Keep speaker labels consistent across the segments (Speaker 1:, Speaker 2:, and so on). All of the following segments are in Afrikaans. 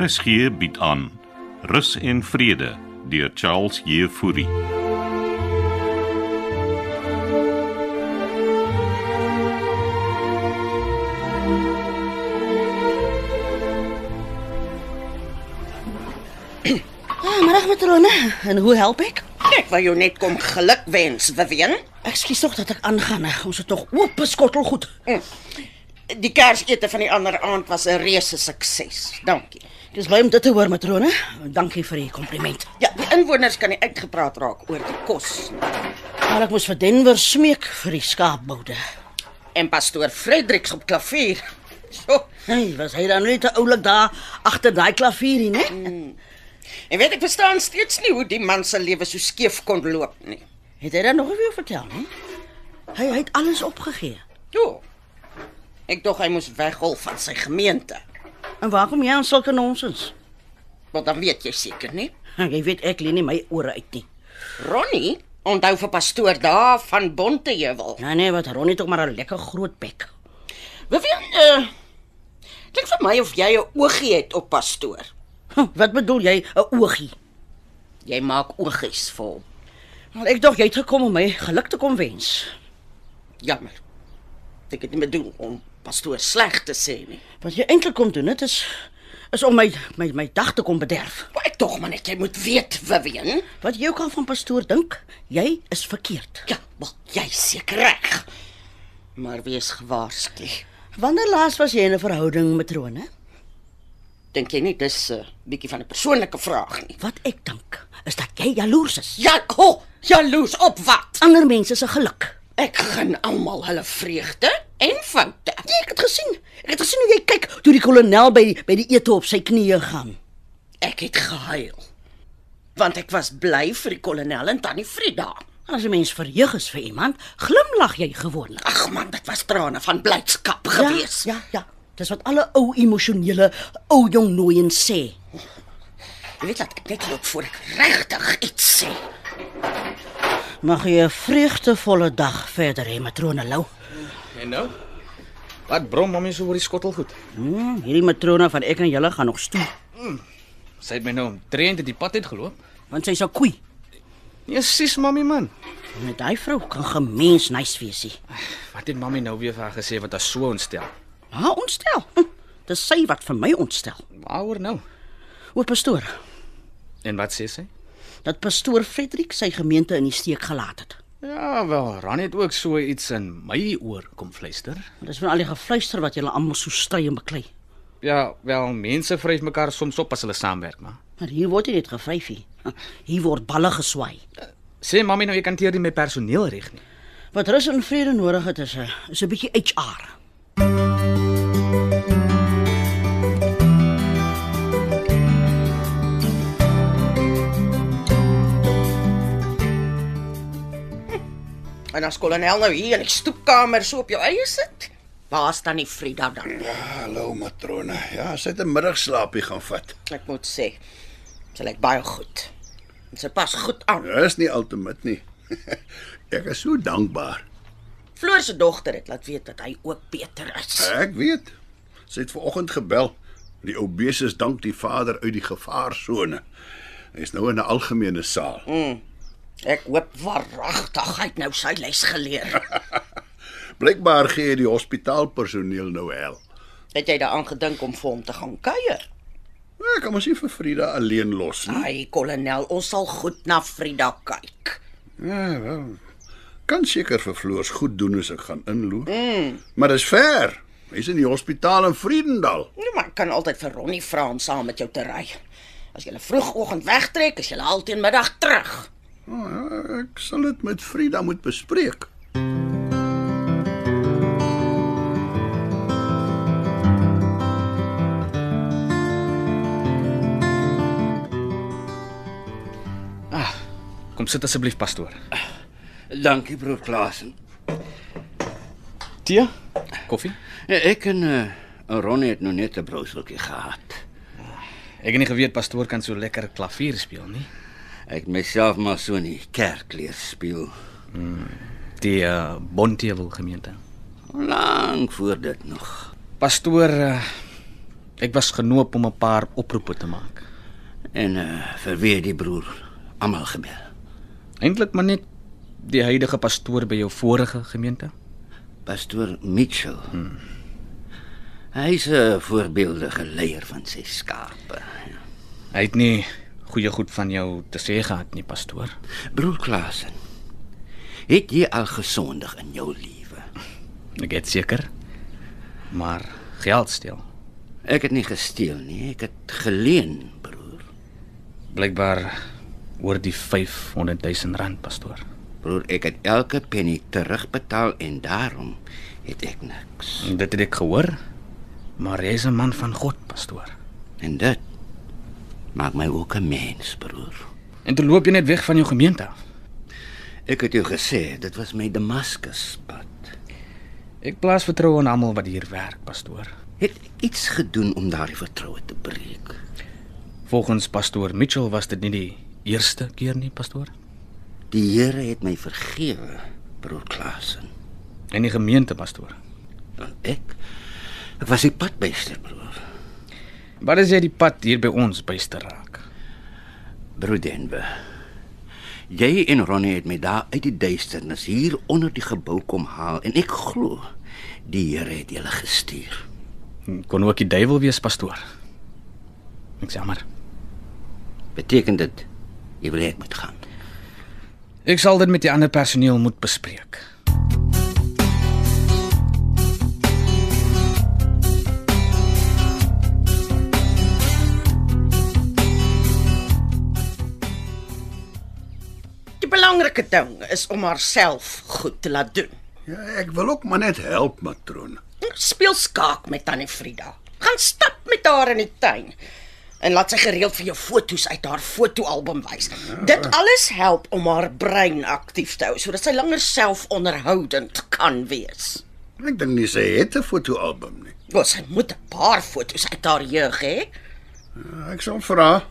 Speaker 1: RSG bied aan Rus en Vrede deur Charles Jefouri.
Speaker 2: Ah, middag matrone. En hoe help ek?
Speaker 3: Ek wou jou net kom geluk wens, Vivian.
Speaker 2: Ekskuus tog dat ek aangaan. hè. Ons het tog oop beskottel goed.
Speaker 3: Die kersete van die ander aand was 'n reuse sukses. Dankie.
Speaker 2: Dis bly om dit te hoor matrone. Dankie vir die kompliment.
Speaker 3: Ja, die inwoners kan nie uitgepraat raak oor die kos. nie.
Speaker 2: Maar ek moes vir Denver smeek vir die skaapboude.
Speaker 3: En pastoor Fredericks op klavier. So,
Speaker 2: Hey, was hy dan net te oulik daar agter daai klavierie, né?
Speaker 3: en weet ek verstaan steeds nie hoe die man se lewe so skeef kon loop nie.
Speaker 2: Het hy dan nog weer vertel, hè? Hy hy het alles opgegee.
Speaker 3: Jo. Ek dink hy moes weghol van sy gemeente.
Speaker 2: En waar kom jy aan sulke nonsens?
Speaker 3: Want dan weet jy seker nie.
Speaker 2: Jy weet ek lê nie my ore uit nie.
Speaker 3: Ronnie onthou vir pastoor daar van Bontejewel.
Speaker 2: Ja nee, wat Ronnie tog maar 'n lekker groot bek.
Speaker 3: Vivian, uh, dink vir my of jy 'n oogie het op pastoor.
Speaker 2: Huh, Hm, wat bedoel jy, 'n oogie?
Speaker 3: Jy maak oogies vir hom.
Speaker 2: Wel, ek dink jy het gekom om my geluk te kom wens.
Speaker 3: Jammer. Ek het nie bedoel om pastoor sleg te sê nie.
Speaker 2: Wat jy eintlik kom doen, dit is is om my my my dag te kom bederf.
Speaker 3: Maar ek tog maar net jy moet weet, Vivian.
Speaker 2: Wat jy ook al van pastoor dink, jy is verkeerd.
Speaker 3: Ja, maar jy is seker reg. Maar wees gewaarsku.
Speaker 2: Wanneer laas was jy in 'n verhouding met Rone?
Speaker 3: Dink jy nie dis 'n uh, bietjie van 'n persoonlike vraag nie?
Speaker 2: Wat ek dink, is dat jy jaloers is.
Speaker 3: Ja, ho, oh, jaloers op wat?
Speaker 2: Ander mense se geluk.
Speaker 3: Ek gun almal hulle vreugde en foute.
Speaker 2: Ja, ek het gesien. Ek het gesien hoe jy kyk toe die kolonel by die, by die ete op sy knieë gaan.
Speaker 3: Ek het gehuil. Want ek was bly vir die kolonel en tannie Frida.
Speaker 2: As 'n mens verheug is vir iemand, glimlag jy gewoonlik.
Speaker 3: Ag man, dit was trane van blydskap
Speaker 2: Ja,
Speaker 3: gewees.
Speaker 2: Ja, ja. Dis wat alle ou emosionele ou jong nooiens sê.
Speaker 3: Jy weet dat ek net loop voor ek regtig iets sê.
Speaker 2: Mag jy 'n vreugdevolle dag verder hê, matrone Lou.
Speaker 4: En nou? Wat brom mami so oor die skottelgoed?
Speaker 2: Hmm, hierdie matrone van ek en julle gaan nog stoei,
Speaker 4: Sy het my nou omtrent uit die pad uit geloop.
Speaker 2: want sy's 'n koei.
Speaker 4: Nee, sis mami man.
Speaker 2: En Met daai vrou kan gemens nice wees. ie.
Speaker 4: Wat het mami nou weer vir haar gesê wat haar so ontstel?
Speaker 2: Ha, ontstel. Hm, dis sy wat vir my ontstel.
Speaker 4: Waaroor nou?
Speaker 2: Oor pastoor.
Speaker 4: En wat sê sy?
Speaker 2: Dat pastoor Frederik sy gemeente in die steek gelaat het.
Speaker 4: Ja, wel, Ran het ook so iets in my oor kom fluister.
Speaker 2: Dis van al die gefluister wat julle almal so stry en beklei.
Speaker 4: Ja, wel, mense vryf mekaar soms op as hulle saamwerk, maar.
Speaker 2: Maar hier word nie net gevryf nie. Hm, Hier word balle geswaai.
Speaker 4: Sê mami nou jy kan teer nie my personeel reg nie.
Speaker 2: Wat rus en vrede nodig het is 'n is 'n bietjie HR.
Speaker 3: En as kolonel nou hier in die stoepkamer so op jou eie sit, waar staan die Frida dan?
Speaker 5: Hallo matrone. Ja, sy het 'n middagslaapie gaan vat.
Speaker 3: Ek moet sê, sy lyk baie goed. En Sy pas goed aan.
Speaker 5: Dis Nou, nie ultimate nie. Ek is so dankbaar.
Speaker 3: Floor se dogter het laat weet dat hy ook beter is.
Speaker 5: Ek weet. Sy het vanoggend gebel. Die obese is dank die Vader uit die gevaarsone. Hy's nou in 'n algemene saal.
Speaker 3: Ek hoop waaragtig hy het nou sy les geleer.
Speaker 5: Blykbaar gee die hospitaalpersoneel nou hel.
Speaker 3: Het jy daaraan gedink om vir hom te gaan kuier?
Speaker 5: Nou, Ek kan mos nie vir Frida alleen los nie.
Speaker 3: Ai, kolonel, ons sal goed na Frida kyk.
Speaker 5: Ja, wel. Kan seker vir Floors goed doen as ek gaan inloer. Mm. Maar dis ver. Hy's in die hospitaal in Vredendal.
Speaker 3: Nee, maar ek kan altyd vir Ronnie vra om saam met jou te ry. As jy vroegoggend wegtrek, is jy al teen middag terug.
Speaker 5: Oh, ja, ek sal dit met Frida moet bespreek.
Speaker 4: Ah, kom sit asseblief pastoor.
Speaker 6: Dankie broer Klaasen.
Speaker 4: Tee? Koffie?
Speaker 6: Ek en eh, en Ronnie het nog net 'n brouseltjie gehad.
Speaker 4: Ek het nie geweet pastoor kan so lekker klavier speel nie.
Speaker 6: Ek het myself maar so in die kerkkleer speel
Speaker 4: Die uh, Bontewil gemeente.
Speaker 6: lank voor dit nog.
Speaker 4: Pastoor, eh, Ek was genoop om 'n paar oproepe te maak.
Speaker 6: En uh, vir wie het die broer almal gebel?
Speaker 4: Eintlik maar net die huidige pastoor by jou vorige gemeente.
Speaker 6: Pastoor Mitchell. Hmm. Hy's 'n voorbeeldige leier van sy skape.
Speaker 4: Hy het nie goeie goed van jou te sê gehad nie, pastoor.
Speaker 6: Broer Klasen. Het jy al gesondig in jou lewe?
Speaker 4: Ek het seker. Maar geld steel.
Speaker 6: Ek het nie gesteel nie, ek het geleen, broer.
Speaker 4: Blykbaar oor die 500 000 rand, pastoor.
Speaker 6: Broer, ek het elke penny terugbetaal en daarom het ek niks.
Speaker 4: En Dit het ek gehoor. Maar jy's 'n man van God, pastoor.
Speaker 6: En dit maak my ook 'n mens, broer.
Speaker 4: En toe loop jy net weg van jou gemeente af.
Speaker 6: Ek het jou gesê, dit was my Damaskuspad.
Speaker 4: Ek plaas vertroue in almal wat hier werk, pastoor.
Speaker 6: Het ek iets gedoen om daardie vertroue te breek?
Speaker 4: Volgens pastoor Mitchell was dit nie die eerste keer nie, pastoor.
Speaker 6: Die Here het my vergewe, broer Klasen.
Speaker 4: En die gemeente, pastoor.
Speaker 6: Want ek ek was die padmeester, broer.
Speaker 4: Wat is jy die pad hier by ons byste raak?
Speaker 6: Broer Denver. Jy en Ronnie het my daar uit die duisternis hier onder die gebou kom haal en ek glo die Here het julle gestuur.
Speaker 4: Kon ook die duiwel wees, pastoor. Ek sê maar.
Speaker 6: Beteken dit jy wil hê ek moet gaan?
Speaker 4: Ek sal dit met die ander personeel moet bespreek.
Speaker 3: Die belangrike ding is om haarself goed te laat doen.
Speaker 5: Ja, ek wil ook maar net help, matroon.
Speaker 3: Speel skaak met tannie Frida. Gaan stap met haar in die tuin. En laat sy gereeld vir jou foto's uit haar fotoalbum wys. Dit alles help om haar brein aktief te hou sodat sy langer selfonderhoudend kan wees.
Speaker 5: Ek dink nie sy het 'n fotoalbum nie.
Speaker 3: Want sy moet 'n paar foto's uit haar jeug hê.
Speaker 5: Ek sal vra.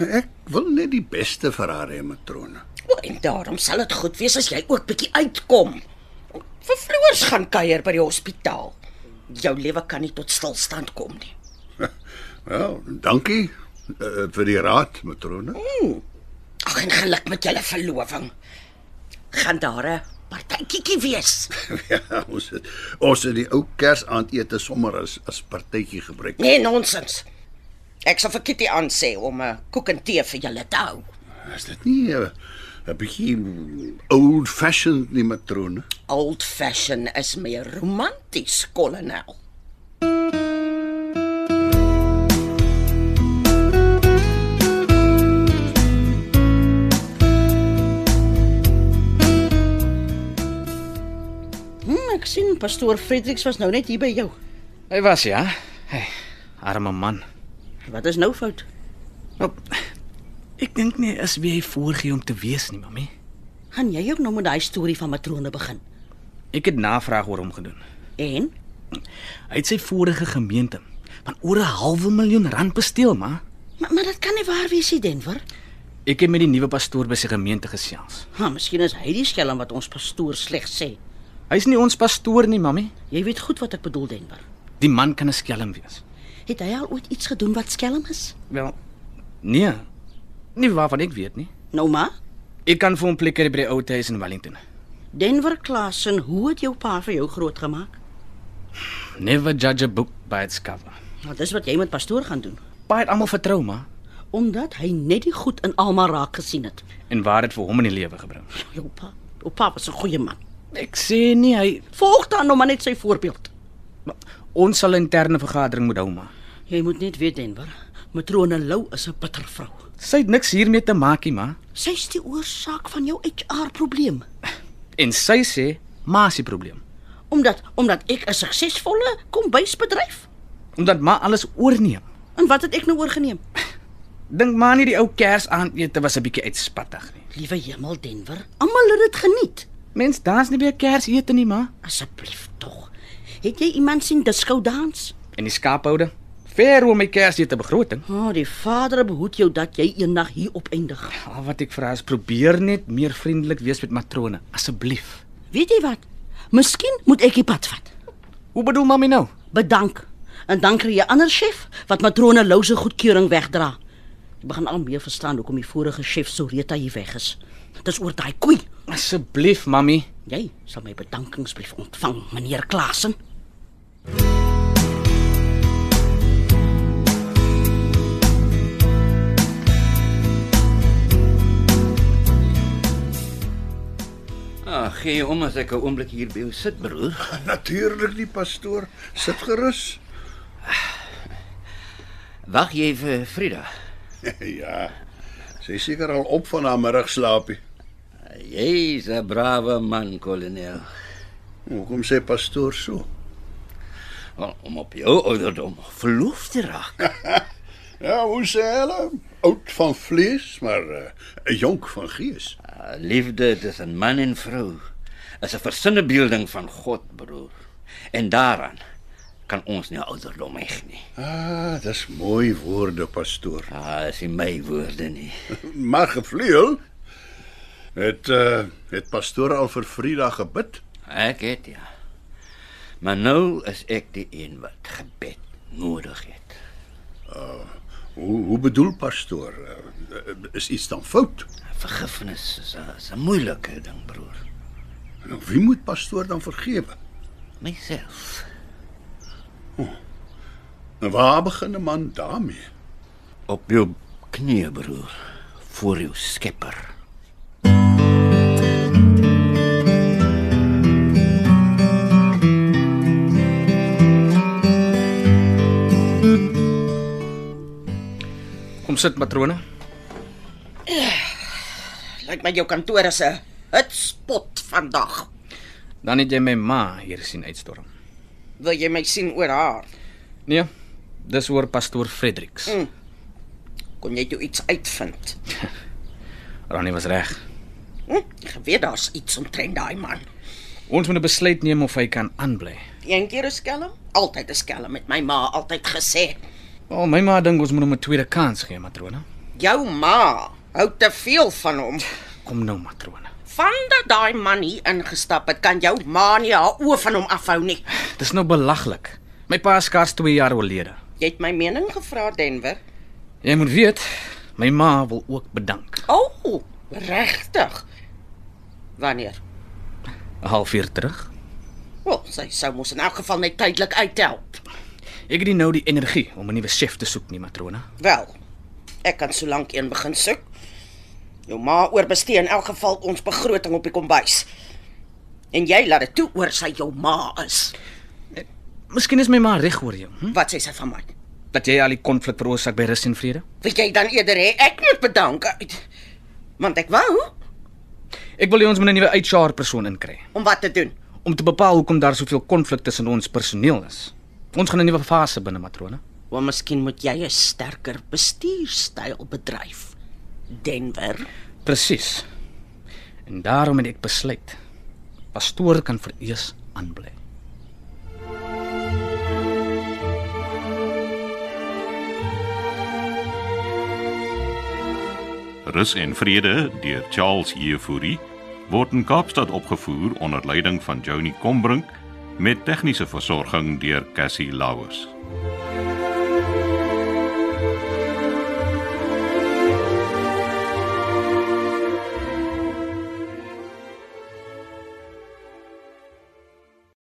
Speaker 5: Ek wil net die beste vir haar hê, matroon.
Speaker 3: O, En daarom sal dit goed wees as jy ook bietjie uitkom. Vervloers gaan kuier by die hospitaal. Jou lewe kan nie tot stilstand kom nie.
Speaker 5: Wel, dankie uh, vir die raad, matroon.
Speaker 3: Ag en geluk met julle verloving. Gaan daar 'n partytjie wees?
Speaker 5: Ja, ons het, ons het die ou Kersaandete sommer as as partytjie gebruik.
Speaker 3: Nee, nonsens. Ek sal vir Kitty aan sê om 'n koek en tee vir julle te hou.
Speaker 5: Is dit nie eh, 'n bietjie old fashioned nie, matroon?
Speaker 3: Old fashion is meer romanties, kolonel.
Speaker 2: Hm, ek sien pastoor Fredericks was nou net hier by jou.
Speaker 4: Hy was ja. Hey, arme man.
Speaker 2: Wat is nou fout?
Speaker 4: Op. Ek dink nie is wie hy voorgee om te wees nie, mami.
Speaker 2: Gaan jy ook nou met daai storie van matrone begin?
Speaker 4: Ek het navraag oor hom gedoen.
Speaker 2: En
Speaker 4: Hy het sy vorige gemeente van oor 'n halwe miljoen rand besteel, maar
Speaker 2: maar, maar dit kan nie waar wees hier Denver.
Speaker 4: ek het met die nuwe pastoor by sy gemeente gesels.
Speaker 2: Ha, miskien is hy die skelm wat ons pastoor sleg sê.
Speaker 4: Hy's nie ons pastoor nie, mami.
Speaker 2: Jy weet goed wat ek bedoel Denver.
Speaker 4: Die man kan 'n skelm wees.
Speaker 2: Het hy al ooit iets gedoen wat skelm is?
Speaker 4: Wel, nee. Nie waarvan ek weet nie.
Speaker 2: Nou maar,
Speaker 4: Ek kan vir hom plek kry by die ou huis in Wellington.
Speaker 2: Denver Klasen, hoe het jou pa vir jou grootgemaak?
Speaker 4: Never judge a book by its cover.
Speaker 2: Want Nou, dis wat jy met pastoor gaan doen,
Speaker 4: Pa het almal vertrou, maar
Speaker 2: omdat hy net die goed in Alma raak gesien het. Nou,
Speaker 4: en waar dit vir hom in die lewe gebring.
Speaker 2: Jou pa, jou pa was 'n goeie man.
Speaker 4: Ek sê nie hy
Speaker 2: Volg dan nou maar net sy voorbeeld.
Speaker 4: ons sal 'n interne vergadering moet hou, maar
Speaker 2: Jy moet net weet Denver, matrone Lou is 'n bitter vrou.
Speaker 4: sy het niks hiermee te maak nie, maar
Speaker 2: Sy's die oorsaak van jou HR probleem.
Speaker 4: en sy sê ma se probleem.
Speaker 2: Omdat omdat ek 'n suksesvolle kombuisbedryf
Speaker 4: Omdat ma alles oorneem.
Speaker 2: en wat het ek nou oorgeneem?
Speaker 4: Dink maar nie die ou kersaandete was 'n bietjie uitspattig nie.
Speaker 2: Liewe hemel Denver, almal het dit geniet.
Speaker 4: Mens dans nie by 'n kersete nie, ma.
Speaker 2: Asseblief tog. Het jy iemand sien disco dans?
Speaker 4: En die skaaphoude ver oor my kersete begroting.
Speaker 2: O, oh, die Vader behoed jou dat jy eendag hier opeindig.
Speaker 4: Al wat ek vra is probeer net meer vriendelik wees met matrone, asseblief.
Speaker 2: Weet jy wat? Miskien moet ek die pad vat.
Speaker 4: Hoe bedoel mami nou?
Speaker 2: Bedank. en dan kry jy ander chef wat matrone Lou se goedkeuring wegdra. Ek begin al meer verstaan hoekom die vorige chef Soreta hier weg is. Dit is oor daai koei.
Speaker 4: Asseblief, mami.
Speaker 2: Jy sal my bedankingsbrief ontvang, meneer Klasen.
Speaker 6: Ah, gee om as ek 'n oomblik hier by jou sit, broer.
Speaker 5: Natuurlik nie, pastoor. Sit gerus.
Speaker 6: Wag jy vir Frida?
Speaker 5: ja. Sy is seker al op van haar middagslaapie.
Speaker 6: Jy's 'n brawe man, kolonel.
Speaker 5: Hoekom sê pastoor so?
Speaker 6: Wel, Om op jou ouderdom verloof te raak.
Speaker 5: Ja, hoe sê hulle? Oud van vlees, maar uh, jonk van gees.
Speaker 6: Ah, Liefde tussen man en vrou is 'n versinnebeelding van God, broer. En daaraan kan ons nie ouderdom heg nie.
Speaker 5: Ah, dis mooi woorde, pastoor.
Speaker 6: Ah, dis nie my woorde nie.
Speaker 5: Maar gevleuel het uh, het pastoor al vir Vrydag gebid.
Speaker 6: Ek het ja. Maar nou is ek die een wat gebed nodig het.
Speaker 5: Hoe hoe bedoel pastoor? Uh, is iets dan fout?
Speaker 6: Vergifnis is 'n- is 'n moeilike ding, broer.
Speaker 5: Nou, wie moet pastoor dan vergewe?
Speaker 6: Myself.
Speaker 5: Nou, waar begin 'n man daarmee?
Speaker 6: Op jou knieë, broer, voor jou Skepper.
Speaker 4: Kom sit, matrone.
Speaker 3: Lyk my jou kantoor is 'n hotspot vandag.
Speaker 4: Dan het jy my ma hier sien uitstorm.
Speaker 3: Wil jy my sien oor haar?
Speaker 4: Nee. Dis oor pastoor Fredericks.
Speaker 3: Mm. Kon jy toe iets uitvind?
Speaker 4: Ronnie was reg.
Speaker 3: Hm? Ek geweet daar's iets omtrent daai man.
Speaker 4: Ons moet 'n besluit neem of hy kan aanbly.
Speaker 3: Een keer 'n skelm, altyd 'n skelm met my ma altyd gesê.
Speaker 4: Wel, my ma dink ons moet hom 'n tweede kans gee, matrone.
Speaker 3: Jou ma hou te veel van hom.
Speaker 4: Kom nou, matrone.
Speaker 3: Vandat daai man hier ingestap het, kan jou ma nie haar oë van hom afhou nie.
Speaker 4: Dis nou belaglik. My pa is skaars 2 jaar oorlede.
Speaker 3: Jy het my mening gevra, Denver.
Speaker 4: Jy moet weet, my ma wil ook bedank.
Speaker 3: O, oh, regtig. Wanneer?
Speaker 4: 'n Halfuur terug.
Speaker 3: Wel, sy sou mos in elk geval net tydelik uithelp.
Speaker 4: Ek het nie nou die energie om 'n nuwe chef te soek nie, matrone.
Speaker 3: Wel, ek kan solank een begin soek. Jou ma oorbestee in elk geval ons begroting op die kombuis. En jy laat dit toe oor sy jou ma is.
Speaker 4: Miskien is my ma reg oor jou, hm?
Speaker 3: Wat sê sy van my?
Speaker 4: dat jy al die konflik veroorsaak by Rus en Vrede.
Speaker 3: Wil jy dan eerder hê ek moet bedank? Want ek wou
Speaker 4: Ek wil hê ons moet 'n nuwe HR persoon inkry
Speaker 3: om wat te doen.
Speaker 4: om te bepaal hoekom daar soveel konflik tussen ons personeel is. Ons gaan 'n nuwe fase binne, matrone.
Speaker 3: Want miskien moet jy 'n sterker bestuurstyl bedryf. Denver.
Speaker 4: Presies. En daarom het ek besluit. Pastoor kan vereers aanbly.
Speaker 1: Rus en Vrede deur Charles Jefouri word in Kaapstad opgevoer onder leiding van Johnny Combrink met tegniese versorging deur Cassie Lauers.